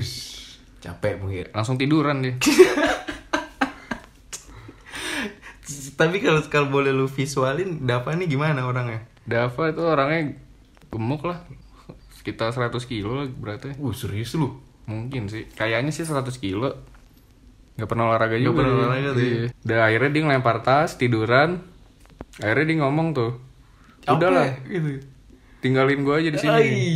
Speaker 2: capek mungkin
Speaker 1: langsung tiduran dia
Speaker 2: tapi kalau kalau boleh lu visualin Dava ini gimana orangnya
Speaker 1: Dava itu orangnya gemuk lah sekitar 100 kilo lah beratnya
Speaker 2: Uh serius lu
Speaker 1: mungkin sih kayaknya sih 100 kilo nggak pernah olahraga juga
Speaker 2: pernah
Speaker 1: dia.
Speaker 2: olahraga tuh ya.
Speaker 1: Iya. dan akhirnya dia ngelempar tas tiduran akhirnya dia ngomong tuh
Speaker 2: Capek,
Speaker 1: udahlah
Speaker 2: gitu
Speaker 1: tinggalin gua aja di sini
Speaker 2: Ai,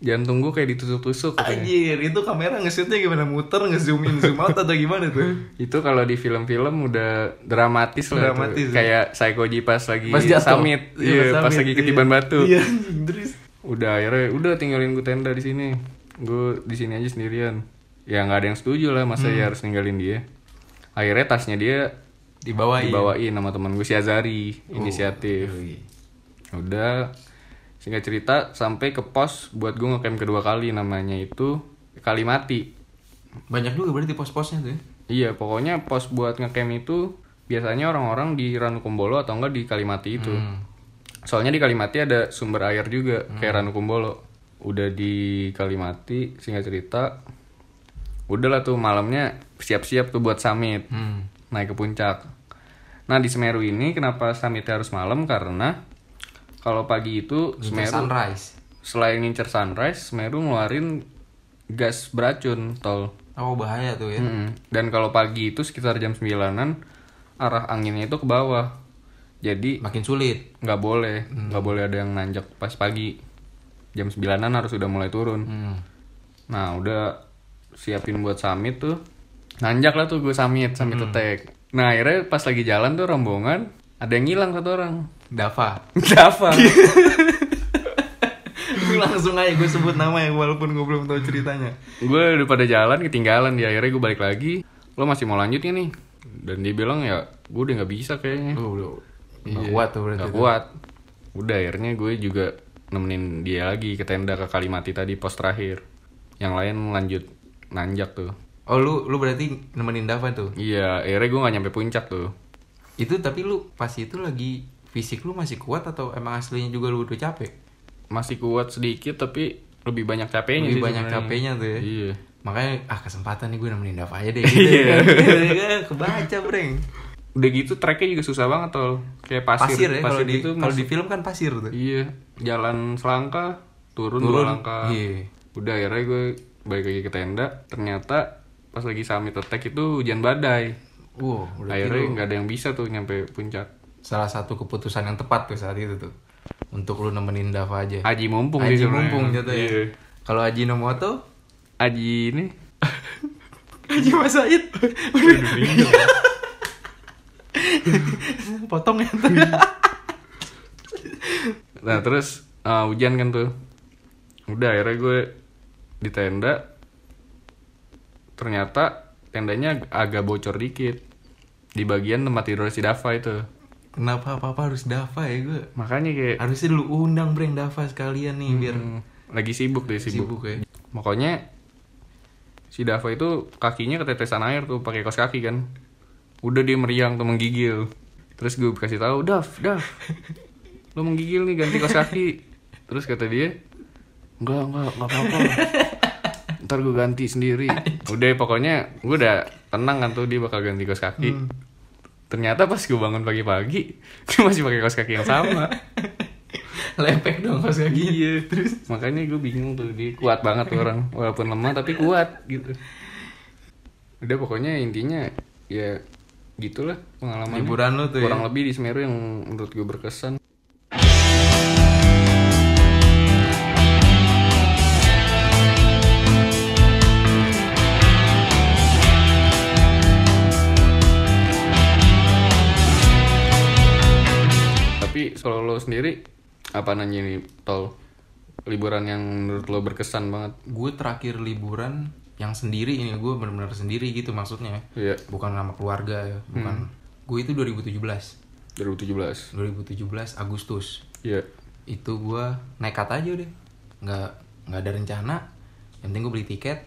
Speaker 1: jantung gua kayak ditusuk-tusuk katanya.
Speaker 2: anjir itu kamera nge-shootnya gimana muter nge-zoom in zoom out atau gimana tuh
Speaker 1: itu kalau di film-film udah dramatis lah itu.
Speaker 2: Dramatis ya.
Speaker 1: kayak Psycho G pas lagi
Speaker 2: [LAUGHS] Pas jatuh.
Speaker 1: summit iya, pas
Speaker 2: summit,
Speaker 1: lagi
Speaker 2: iya.
Speaker 1: ketiban batu
Speaker 2: Iya, anjing, terus
Speaker 1: udah akhirnya udah tinggalin gue tenda di sini gue di sini aja sendirian ya nggak ada yang setuju lah masa ya harus ninggalin dia akhirnya tasnya dia
Speaker 2: ya?
Speaker 3: dibawain
Speaker 1: dibawain sama teman gue si Azari inisiatif
Speaker 3: Yoi.
Speaker 1: udah singkat cerita sampai ke pos buat gue ngecamp kedua kali namanya itu Kalimati
Speaker 2: Banyak juga berarti pos-posnya tuh ya.
Speaker 1: iya pokoknya pos buat ngecamp itu biasanya orang-orang di Ranukumbolo atau enggak di Kalimati itu soalnya di Kalimati ada sumber air juga kayak Ranukumbolo udah di Kalimati singkat cerita udahlah tuh malamnya siap-siap tuh buat summit
Speaker 2: Hmm.
Speaker 1: naik ke puncak nah di Semeru ini kenapa summitnya harus malam karena kalau pagi itu
Speaker 2: Ngincer sunrise.
Speaker 1: selain ngincer sunrise, Semeru ngeluarin gas beracun tol.
Speaker 2: Oh bahaya tuh ya.
Speaker 1: Mm-mm. Dan kalau pagi itu sekitar jam 9-an arah anginnya itu ke bawah. Jadi
Speaker 2: Makin sulit.
Speaker 1: nggak boleh, nggak boleh ada yang nanjak pas pagi. Jam 9-an harus udah mulai turun.
Speaker 2: Hmm.
Speaker 1: Nah, udah siapin buat summit tuh. Nanjak lah tuh gue summit, summit attack. Nah, akhirnya pas lagi jalan tuh rombongan, ada yang ngilang satu orang. [LAUGHS]
Speaker 2: Dava. [LAUGHS]
Speaker 1: Dava.
Speaker 2: langsung aja gue sebut nama ya walaupun gue belum tahu ceritanya.
Speaker 1: gue udah pada jalan ketinggalan di akhirnya gue balik lagi lo masih mau lanjut gak nih dan dia bilang ya gue udah nggak bisa kayaknya
Speaker 2: Lu lu
Speaker 1: Iya.
Speaker 2: nggak kuat tuh berarti.
Speaker 1: nggak
Speaker 2: tuh.
Speaker 1: kuat udah akhirnya gue juga nemenin dia lagi ke tenda ke Kalimati tadi pos terakhir yang lain lanjut nanjak tuh
Speaker 2: Oh lu lu berarti nemenin Dava tuh.
Speaker 1: iya akhirnya gue nggak nyampe puncak tuh
Speaker 2: Itu tapi lu pas itu lagi fisik lu masih kuat atau emang aslinya juga lu udah capek?
Speaker 1: masih kuat sedikit tapi lebih banyak capeknya
Speaker 2: Lebih
Speaker 1: Iya sih
Speaker 2: banyak
Speaker 1: sebenarnya.
Speaker 2: capeknya tuh ya.
Speaker 1: iya
Speaker 2: Makanya ah kesempatan nih gue nemenin Dava
Speaker 1: [LAUGHS]
Speaker 2: aja deh. Gitu, ya kan? Kebaca, Breng.
Speaker 1: udah gitu treknya juga susah banget tol kayak pasir
Speaker 2: Pasir, ya kalau di
Speaker 1: gitu
Speaker 2: kalau
Speaker 1: masuk-
Speaker 2: di film kan pasir tuh.
Speaker 1: Iya, jalan selangkah, turun, dua
Speaker 2: Turun,
Speaker 1: langkah.
Speaker 2: iya.
Speaker 1: Udah akhirnya gue balik lagi ke tenda, ternyata pas lagi summit attack itu hujan badai.
Speaker 2: Wow, udah
Speaker 1: akhirnya nggak ada yang bisa tuh nyampe puncak.
Speaker 2: salah satu keputusan yang tepat tuh saat itu tuh untuk lu nemenin Dava aja.
Speaker 1: Haji mumpung
Speaker 2: Haji
Speaker 1: sih sebenarnya.
Speaker 2: mumpung jatuh ya.
Speaker 1: Iya.
Speaker 2: Kalau Haji Nomoto,
Speaker 1: Haji ini
Speaker 2: Haji Mas Said.
Speaker 1: [LAUGHS]
Speaker 2: Potong ya tuh.
Speaker 1: Nah, terus ah, hujan kan tuh. Udah akhirnya gue di tenda ternyata tendanya ag- agak bocor dikit di bagian tempat tidur si Dava itu.
Speaker 2: Kenapa apa-apa harus Dava ya gue?
Speaker 1: Makanya kayak
Speaker 2: Harusnya lu undang Breng Dava sekalian nih biar
Speaker 1: Hmm, lagi sibuk deh sibuk.
Speaker 2: sibuk ya. [LAUGHS]
Speaker 1: Makanya si Dava itu kakinya ketetesan air tuh pakai kaos kaki kan. Udah dia meriang tuh menggigil. Terus gue kasih tahu, "Dav, Dav. Lu menggigil nih ganti kaos kaki." Terus kata dia, "Enggak, enggak, enggak apa-apa." Ntar gue ganti sendiri. Udah pokoknya gue udah tenang kan tuh dia bakal ganti kaos kaki. Ternyata pas gue bangun pagi-pagi, dia masih pakai kaos kaki yang sama.
Speaker 2: Lepek dong pas kayak gini.
Speaker 1: Iya, terus makanya gue bingung tuh dia kuat banget tuh orang walaupun lemah tapi kuat gitu. Udah pokoknya intinya ya gitulah pengalaman
Speaker 2: Liburan lu tuh ya?
Speaker 1: kurang lebih di Semeru yang menurut gue berkesan. Tapi kalau lo sendiri apa nanya nih tol liburan yang menurut lo berkesan banget?
Speaker 2: Gue terakhir liburan yang sendiri ini gue benar-benar sendiri gitu maksudnya.
Speaker 1: Iya,
Speaker 2: Bukan sama keluarga ya,
Speaker 1: Hmm.
Speaker 2: bukan. Gue itu 2017.
Speaker 1: 2017.
Speaker 2: 2017 Agustus
Speaker 1: Iya.
Speaker 2: itu gua nekat aja deh nggak nggak ada rencana yang penting gue beli tiket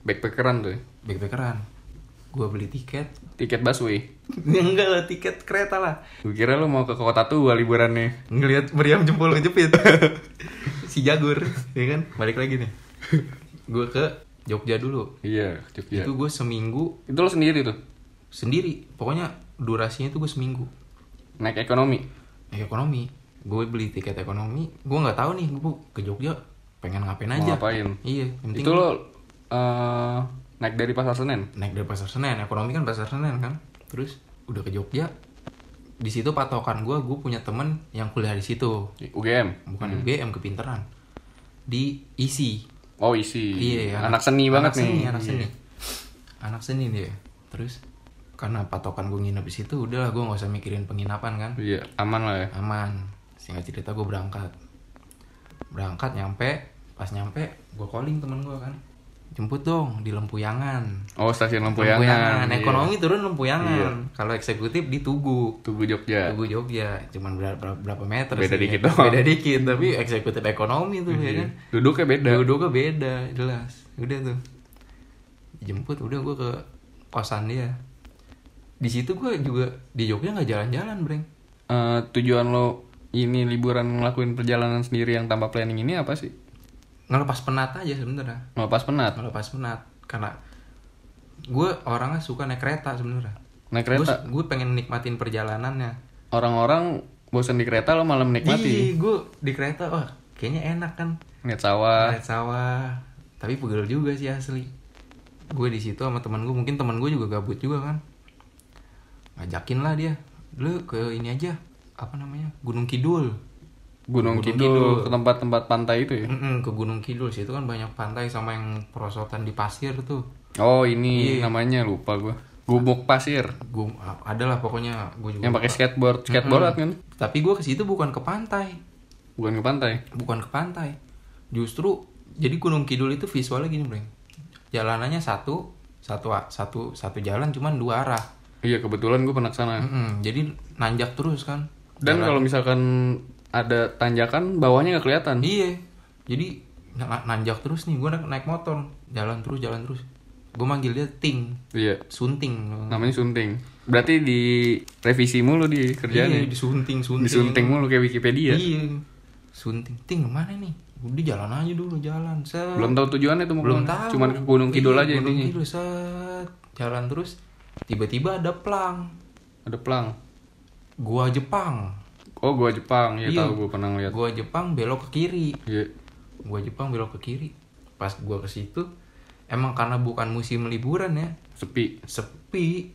Speaker 1: Backpackeran tuh. ya?
Speaker 2: backpackeran gue beli tiket [LAUGHS]
Speaker 1: Tiket busway.
Speaker 2: Ya enggak lah tiket kereta lah
Speaker 1: Gue kira lo mau ke kota tua liburannya.
Speaker 2: ngelihat meriam jempol ngejepit [LAUGHS] si jagur ya kan balik lagi nih gue ke Jogja dulu
Speaker 1: Iya, Jogja.
Speaker 2: itu
Speaker 1: Itu,
Speaker 2: gue seminggu
Speaker 1: lo sendiri tuh,
Speaker 2: sendiri pokoknya durasinya itu gue seminggu
Speaker 1: naik ekonomi.
Speaker 2: naik ekonomi gue beli tiket ekonomi gue nggak tahu nih gue ke Jogja pengen ngapain
Speaker 1: Mau
Speaker 2: aja
Speaker 1: ngapain?
Speaker 2: iya yang penting
Speaker 1: Itu lo eh, naik dari Pasar Senen.
Speaker 2: naik dari pasar Senen ekonomi kan pasar Senen kan terus udah ke Jogja di situ patokan gue gue punya temen yang kuliah di situ
Speaker 1: di UGM.
Speaker 2: bukan UGM kepinteran di E ISI
Speaker 1: Oh isi.
Speaker 2: iya
Speaker 1: anak, seni banget
Speaker 2: anak
Speaker 1: nih. Iya.
Speaker 2: seni, anak seni anak seni dia terus karena patokan gue nginep di situ udahlah gue nggak usah mikirin penginapan kan
Speaker 1: Iya, aman lah ya.
Speaker 2: aman singkat cerita gue berangkat berangkat nyampe pas nyampe gue calling temen gue kan jemput dong di Lempuyangan
Speaker 1: Oh stasiun Lempuyangan. iya.
Speaker 2: ekonomi turun Lempuyangan kalau eksekutif di Tugu
Speaker 1: Tugu Jogja.
Speaker 2: Tugu Jogja cuman ber- ber- berapa meter
Speaker 1: Iya. Beda
Speaker 2: sih,
Speaker 1: dikit
Speaker 2: ya.
Speaker 1: doang.
Speaker 2: beda dikit tapi eksekutif ekonomi tuh ya kan
Speaker 1: Duduknya beda.
Speaker 2: Duduknya beda, jelas. Udah tuh. Jemput udah gue ke kosan dia. Di situ gue juga di Jogja nggak jalan-jalan, Breng.
Speaker 1: Eh, tujuan lo ini liburan ngelakuin perjalanan sendiri yang tanpa planning ini apa sih?
Speaker 2: Ngelepas penat aja sebenarnya.
Speaker 1: Melepas penat,
Speaker 2: Ngelepas penat karena gue orangnya suka naik kereta sebenarnya.
Speaker 1: naik kereta.
Speaker 2: Gue pengen nikmatin perjalanannya.
Speaker 1: Orang-orang bosan di kereta lo malah menikmati.
Speaker 2: Di gue di kereta wah kayaknya enak kan.
Speaker 1: Lihat sawah.
Speaker 2: Lihat sawah. Tapi pegel juga sih asli. Gue di situ sama teman gue, mungkin teman gue juga gabut juga kan. Ngajakin lah dia. Lu ke ini aja, apa namanya? Gunung Kidul.
Speaker 1: Gunung,
Speaker 2: Gunung
Speaker 1: Kidul,
Speaker 2: Kidul.
Speaker 1: ke tempat-tempat pantai itu ya.
Speaker 2: Mm-mm, ke Gunung Kidul situ kan banyak pantai sama yang perosotan di pasir tuh.
Speaker 1: Oh, ini
Speaker 2: Iya.
Speaker 1: namanya lupa gua. Gubuk pasir.
Speaker 2: Gue adalah pokoknya gue juga.
Speaker 1: Yang pakai skateboard, skateboard kan?
Speaker 2: Tapi gue ke situ bukan ke pantai,
Speaker 1: Bukan ke pantai.
Speaker 2: bukan ke pantai. Justru jadi Gunung Kidul itu visualnya gini, Breng. Jalanannya satu, satu satu satu jalan cuman dua arah.
Speaker 1: Iya, kebetulan gua pernah kesana.
Speaker 2: Mm-mm, jadi nanjak terus kan?
Speaker 1: Dan kalau misalkan ada tanjakan, bawahnya nggak kelihatan.
Speaker 2: Iya. Jadi na- nanjak terus nih, gue naik motor, jalan terus, jalan terus. Gue manggil dia Ting,
Speaker 1: Iya.
Speaker 2: sunting.
Speaker 1: Namanya sunting. Berarti di revisi mulu di kerjaan. ya?
Speaker 2: Iya, disunting, sunting.
Speaker 1: Disunting mulu kayak Wikipedia.
Speaker 2: Iya. Sunting, Ting mana nih? Udah jalan aja dulu, jalan. Set.
Speaker 1: Belum tahu tujuannya tuh mau
Speaker 2: Belum
Speaker 1: kemana.
Speaker 2: tahu.
Speaker 1: Cuman ke Gunung Kidul
Speaker 2: Iya,
Speaker 1: aja
Speaker 2: Gunung
Speaker 1: intinya.
Speaker 2: Kidul, set. Jalan terus, tiba-tiba ada plang.
Speaker 1: Ada pelang.
Speaker 2: Gua Jepang.
Speaker 1: Oh, gua Jepang. Ya
Speaker 2: Iya.
Speaker 1: tahu gua pernah ngeliat.
Speaker 2: Gua Jepang belok ke kiri.
Speaker 1: Iya.
Speaker 2: gua Jepang belok ke kiri pas gua ke situ emang karena bukan musim liburan ya
Speaker 1: Sepi.
Speaker 2: sepi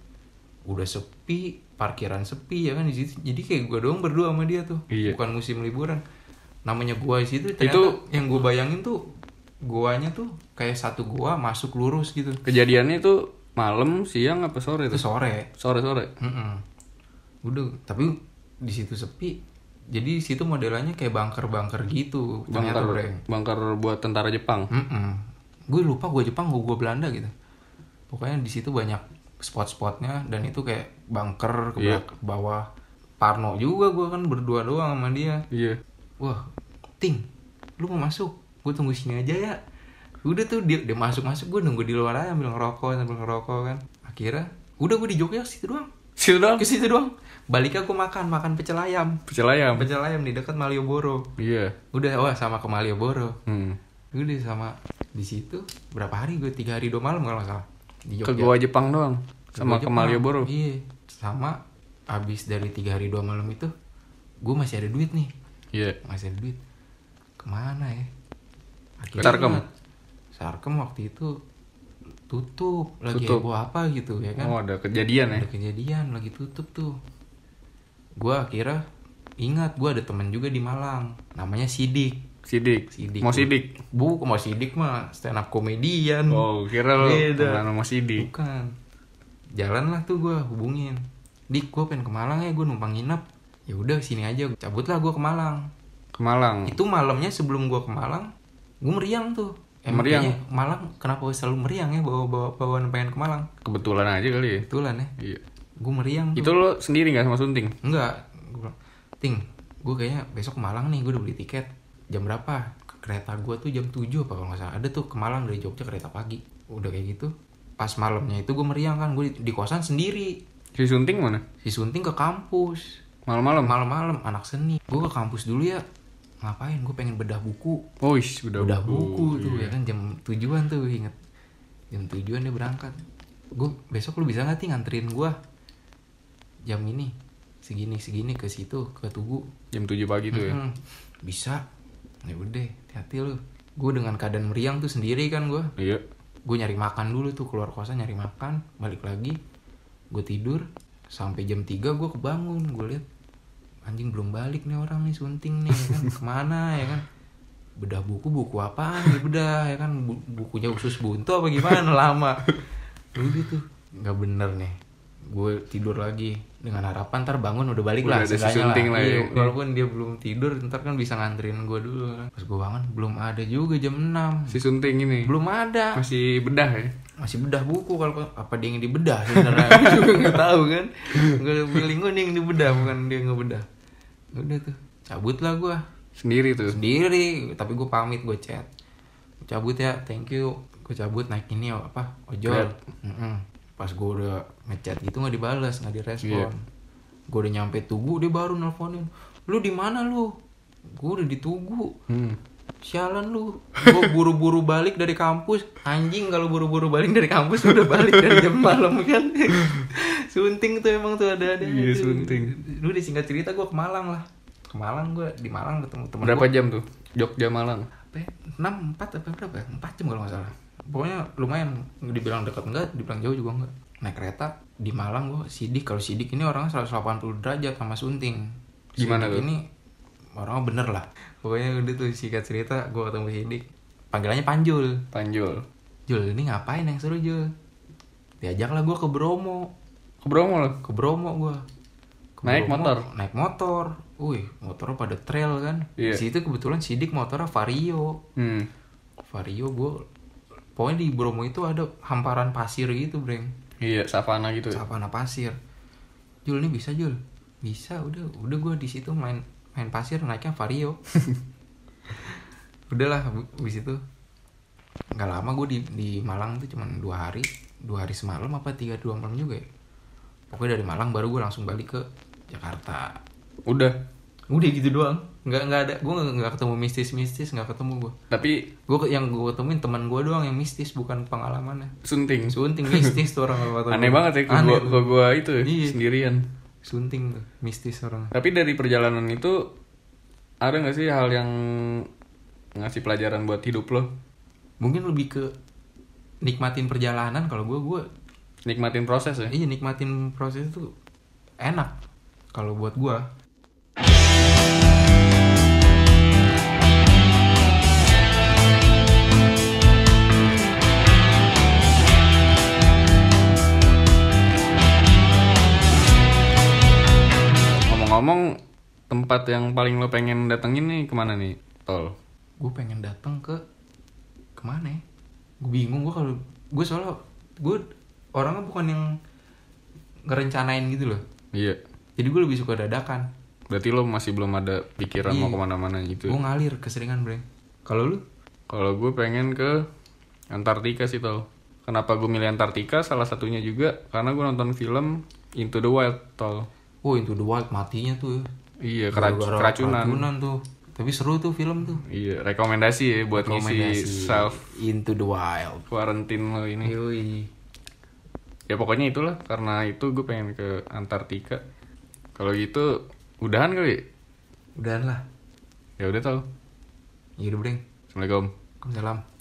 Speaker 2: udah sepi parkiran sepi ya kan di situ jadi kayak gua doang berdua sama dia tuh
Speaker 1: Iya.
Speaker 2: bukan musim liburan namanya gua di situ ternyata yang gua bayangin tuh guanya tuh kayak satu gua masuk lurus gitu
Speaker 1: Kejadiannya itu malam, siang apa sore
Speaker 2: itu
Speaker 1: tuh?
Speaker 2: sore
Speaker 1: Sore-sore.
Speaker 2: Mm-mm. udah tapi di situ sepi jadi di situ modelannya kayak bunker-bunker gitu ternyata Bre.
Speaker 1: Bunker, bunker buat tentara Jepang.
Speaker 2: Gue lupa gue Jepang, gue gue Belanda gitu. Pokoknya di situ banyak spot-spotnya dan itu kayak bunker ke
Speaker 1: Iya.
Speaker 2: belak- ke bawah. Parno juga gue kan berdua doang sama dia.
Speaker 1: Iya.
Speaker 2: Wah, Ting, lu mau masuk? Gue tunggu sini aja ya. Udah tuh dia, dia masuk-masuk gue nunggu di luar aja ambil ngerokok sambil ngerokok kan. Akhirnya, udah gue di Jogja ke situ doang.
Speaker 1: Situ doang.
Speaker 2: Ke situ doang. Balik aku makan, makan pecel ayam.
Speaker 1: Pecel ayam.
Speaker 2: Pecel ayam di dekat Malioboro.
Speaker 1: Iya.
Speaker 2: Udah, wah sama ke Malioboro
Speaker 1: Hmm.
Speaker 2: gue di sama di situ berapa hari gue tiga hari dua malam kalau nggak salah di
Speaker 1: Ke gua Jepang doang. Sama ke
Speaker 2: Jepang.
Speaker 1: Malioboro.
Speaker 2: iya sama abis dari tiga hari dua malam itu gue masih ada duit nih
Speaker 1: Iya.
Speaker 2: masih ada duit kemana ya
Speaker 1: Sarkem.
Speaker 2: gua- sarkem waktu itu tutup lagi
Speaker 1: Tutup.
Speaker 2: heboh apa gitu ya kan
Speaker 1: Oh, ada kejadian ya.
Speaker 2: ada kejadian lagi tutup tuh gue akhirnya ingat gue ada teman juga di Malang namanya Sidik
Speaker 1: Sidik.
Speaker 2: Sidik.
Speaker 1: Mau sidik.
Speaker 2: bu mau Sidik mah stand up komedian
Speaker 1: Oh, kira lo
Speaker 2: Hmm. Beda.
Speaker 1: temenan sama sidik.
Speaker 2: Bukan. Jalan lah tuh gue hubungin. Dik gue pengen ke Malang ya gue numpang nginep. Ya udah sini aja cabut lah gue ke Malang.
Speaker 1: Ke Malang.
Speaker 2: Itu malamnya sebelum gue ke Malang, gue meriang tuh.
Speaker 1: Meriang?
Speaker 2: kayaknya Malang kenapa gua selalu meriang ya bawa bawa bawaan pengen ke Malang.
Speaker 1: Kebetulan aja kali ya.
Speaker 2: Kebetulan ya.
Speaker 1: Iya.
Speaker 2: Gue meriang tuh.
Speaker 1: Itu lo sendiri nggak sama Sunting?
Speaker 2: Enggak. Gue bilang, Ting, gue kayaknya besok ke Malang nih, gue udah beli tiket. Jam berapa? Kereta gue tuh jam 7 apa kalau nggak salah. Ada tuh ke Malang dari Jogja kereta pagi. Udah kayak gitu. Pas malamnya itu gue meriang kan, gue di, di kosan sendiri.
Speaker 1: Si Sunting mana?
Speaker 2: Si Sunting ke kampus.
Speaker 1: Malam-malam.
Speaker 2: Malam-malam, anak seni. Gue ke kampus dulu ya. Ngapain? Gue pengen bedah buku.
Speaker 1: Oh, ish, udah,
Speaker 2: Bedah buku tuh ya kan jam tujuan tuh inget. Jam tujuan dia berangkat. Gue besok lu bisa nggak Ting nganterin gue? Jam ini segini segini ke situ ke tugu
Speaker 1: Jam 7 pagi tuh ya.
Speaker 2: Hmm, bisa ya udah hati-hati lu gue dengan keadaan meriang tuh sendiri kan gue
Speaker 1: Iya.
Speaker 2: gue nyari makan dulu tuh keluar kosan nyari makan balik lagi gue tidur sampai jam 3 gue kebangun gue lihat anjing belum balik nih orang nih sunting nih ya kan kemana ya kan bedah buku buku apaan nih bedah ya kan Bu- bukunya usus buntu apa gimana lama udah tuh nggak bener nih gue tidur lagi dengan harapan ntar bangun udah balik
Speaker 1: Udah ada
Speaker 2: lah seenggaknya
Speaker 1: sesunting lah
Speaker 2: Iya,
Speaker 1: ya.
Speaker 2: walaupun dia belum tidur ntar kan bisa nganterin gue dulu kan. pas gue bangun belum ada juga jam 6
Speaker 1: Si Sunting ini
Speaker 2: belum ada
Speaker 1: masih bedah ya.
Speaker 2: masih bedah buku kalau apa dia yang dibedah sebenarnya [LAUGHS] Gua juga nggak tahu kan gue feeling gue dia yang dibedah bukan dia yang ngebedah Ya udah tuh cabut lah gue
Speaker 1: Sendiri tuh.
Speaker 2: sendiri tapi gue pamit gue chat Gua cabut ya thank you gue cabut naik ini apa ojol Mm-mm. pas gue udah ngechat gitu nggak dibalas nggak direspon gue udah nyampe tugu dia baru nelfonin lu di mana lu gue udah di tugu
Speaker 1: Hmm.
Speaker 2: sialan lu gue buru-buru balik dari kampus anjing kalau buru-buru balik dari kampus udah balik dari jam malam kan sunting tuh emang tuh ada ada
Speaker 1: Iya, sunting.
Speaker 2: lu disingkat cerita gue ke Malang lah ke Malang gue di Malang ketemu temen
Speaker 1: Berapa jam tuh? Jogja Malang.
Speaker 2: apa ya? enam empat apa berapa ya? empat jam kalau nggak salah pokoknya lumayan dibilang dekat enggak dibilang jauh juga enggak naik kereta di Malang gue sidik kalau sidik ini orangnya 180 derajat sama sunting
Speaker 1: Gimana
Speaker 2: Sidik
Speaker 1: tuh?
Speaker 2: ini orangnya bener lah pokoknya udah tuh sikat cerita gue ketemu sidik panggilannya Panjul
Speaker 1: Panjul.
Speaker 2: Jul ini ngapain yang seru Jul diajaklah gue ke Bromo
Speaker 1: Ke Bromo loh.
Speaker 2: ke Bromo gue
Speaker 1: Naik motor?
Speaker 2: naik motor wih motornya pada trail kan
Speaker 1: Iya.
Speaker 2: di situ kebetulan sidik motornya Vario
Speaker 1: Hmm.
Speaker 2: Vario gue pokoknya di Bromo itu ada hamparan pasir gitu breng
Speaker 1: Iya, savana gitu. ya.
Speaker 2: savana pasir Jul ini bisa Jul bisa udah udah gue di situ main main pasir naiknya Vario udahlah di situ nggak lama gue di di Malang tuh cuman dua hari dua hari semalam apa tiga dua malam juga ya pokoknya dari Malang baru gue langsung balik ke Jakarta
Speaker 1: Udah.
Speaker 2: udah gitu doang nggak nggak ada gue nggak nggak ketemu mistis mistis nggak ketemu gue
Speaker 1: Tapi
Speaker 2: gue yang gue ketemuin teman gue doang yang mistis bukan pengalamannya
Speaker 1: sunting. [LAUGHS]
Speaker 2: sunting mistis tuh orang kalau kata
Speaker 1: Aneh
Speaker 2: gua.
Speaker 1: banget ya ke
Speaker 2: Aneh
Speaker 1: gua, ke
Speaker 2: tuh.
Speaker 1: gua itu ya,
Speaker 2: Iya.
Speaker 1: sendirian.
Speaker 2: sunting tuh mistis orang
Speaker 1: Tapi dari perjalanan itu ada nggak sih hal yang ngasih pelajaran buat hidup lo?
Speaker 2: mungkin lebih ke nikmatin perjalanan kalau gue gue
Speaker 1: Nikmatin proses ya.
Speaker 2: iya nikmatin proses itu enak kalau buat gue
Speaker 1: Ngomong-ngomong, tempat yang paling lo pengen datengin nih kemana nih, Tol?
Speaker 2: gue pengen datang ke kemana ya? gue bingung gue kalau gue soalnya gue orangnya bukan yang ngerencanain gitu loh
Speaker 1: Iya.
Speaker 2: jadi gue lebih suka dadakan
Speaker 1: Berarti lo masih belum ada pikiran mau
Speaker 2: Iya.
Speaker 1: kemana-mana gitu.
Speaker 2: gue ngalir keseringan breng kalau lu
Speaker 1: Kalau gue pengen ke Antartika sih tol. Kenapa gue milih Antartika? Salah satunya juga karena gue nonton film Into the Wild tol.
Speaker 2: Oh Into the Wild matinya tuh ya.
Speaker 1: Iya kerac-
Speaker 2: Gara-gara
Speaker 1: keracunan.
Speaker 2: tuh. Tapi seru tuh film tuh.
Speaker 1: Iya rekomendasi ya buat ngisi self
Speaker 2: Into the Wild.
Speaker 1: quarantine lo ini.
Speaker 2: Yoi.
Speaker 1: Ya pokoknya itulah karena itu gue pengen ke Antartika. Kalau gitu udahan kali.
Speaker 2: Udahan lah. Ya
Speaker 1: Ya udah tol.
Speaker 2: Yaudah breng.
Speaker 1: Assalamualaikum.
Speaker 2: Waalaikumsalam.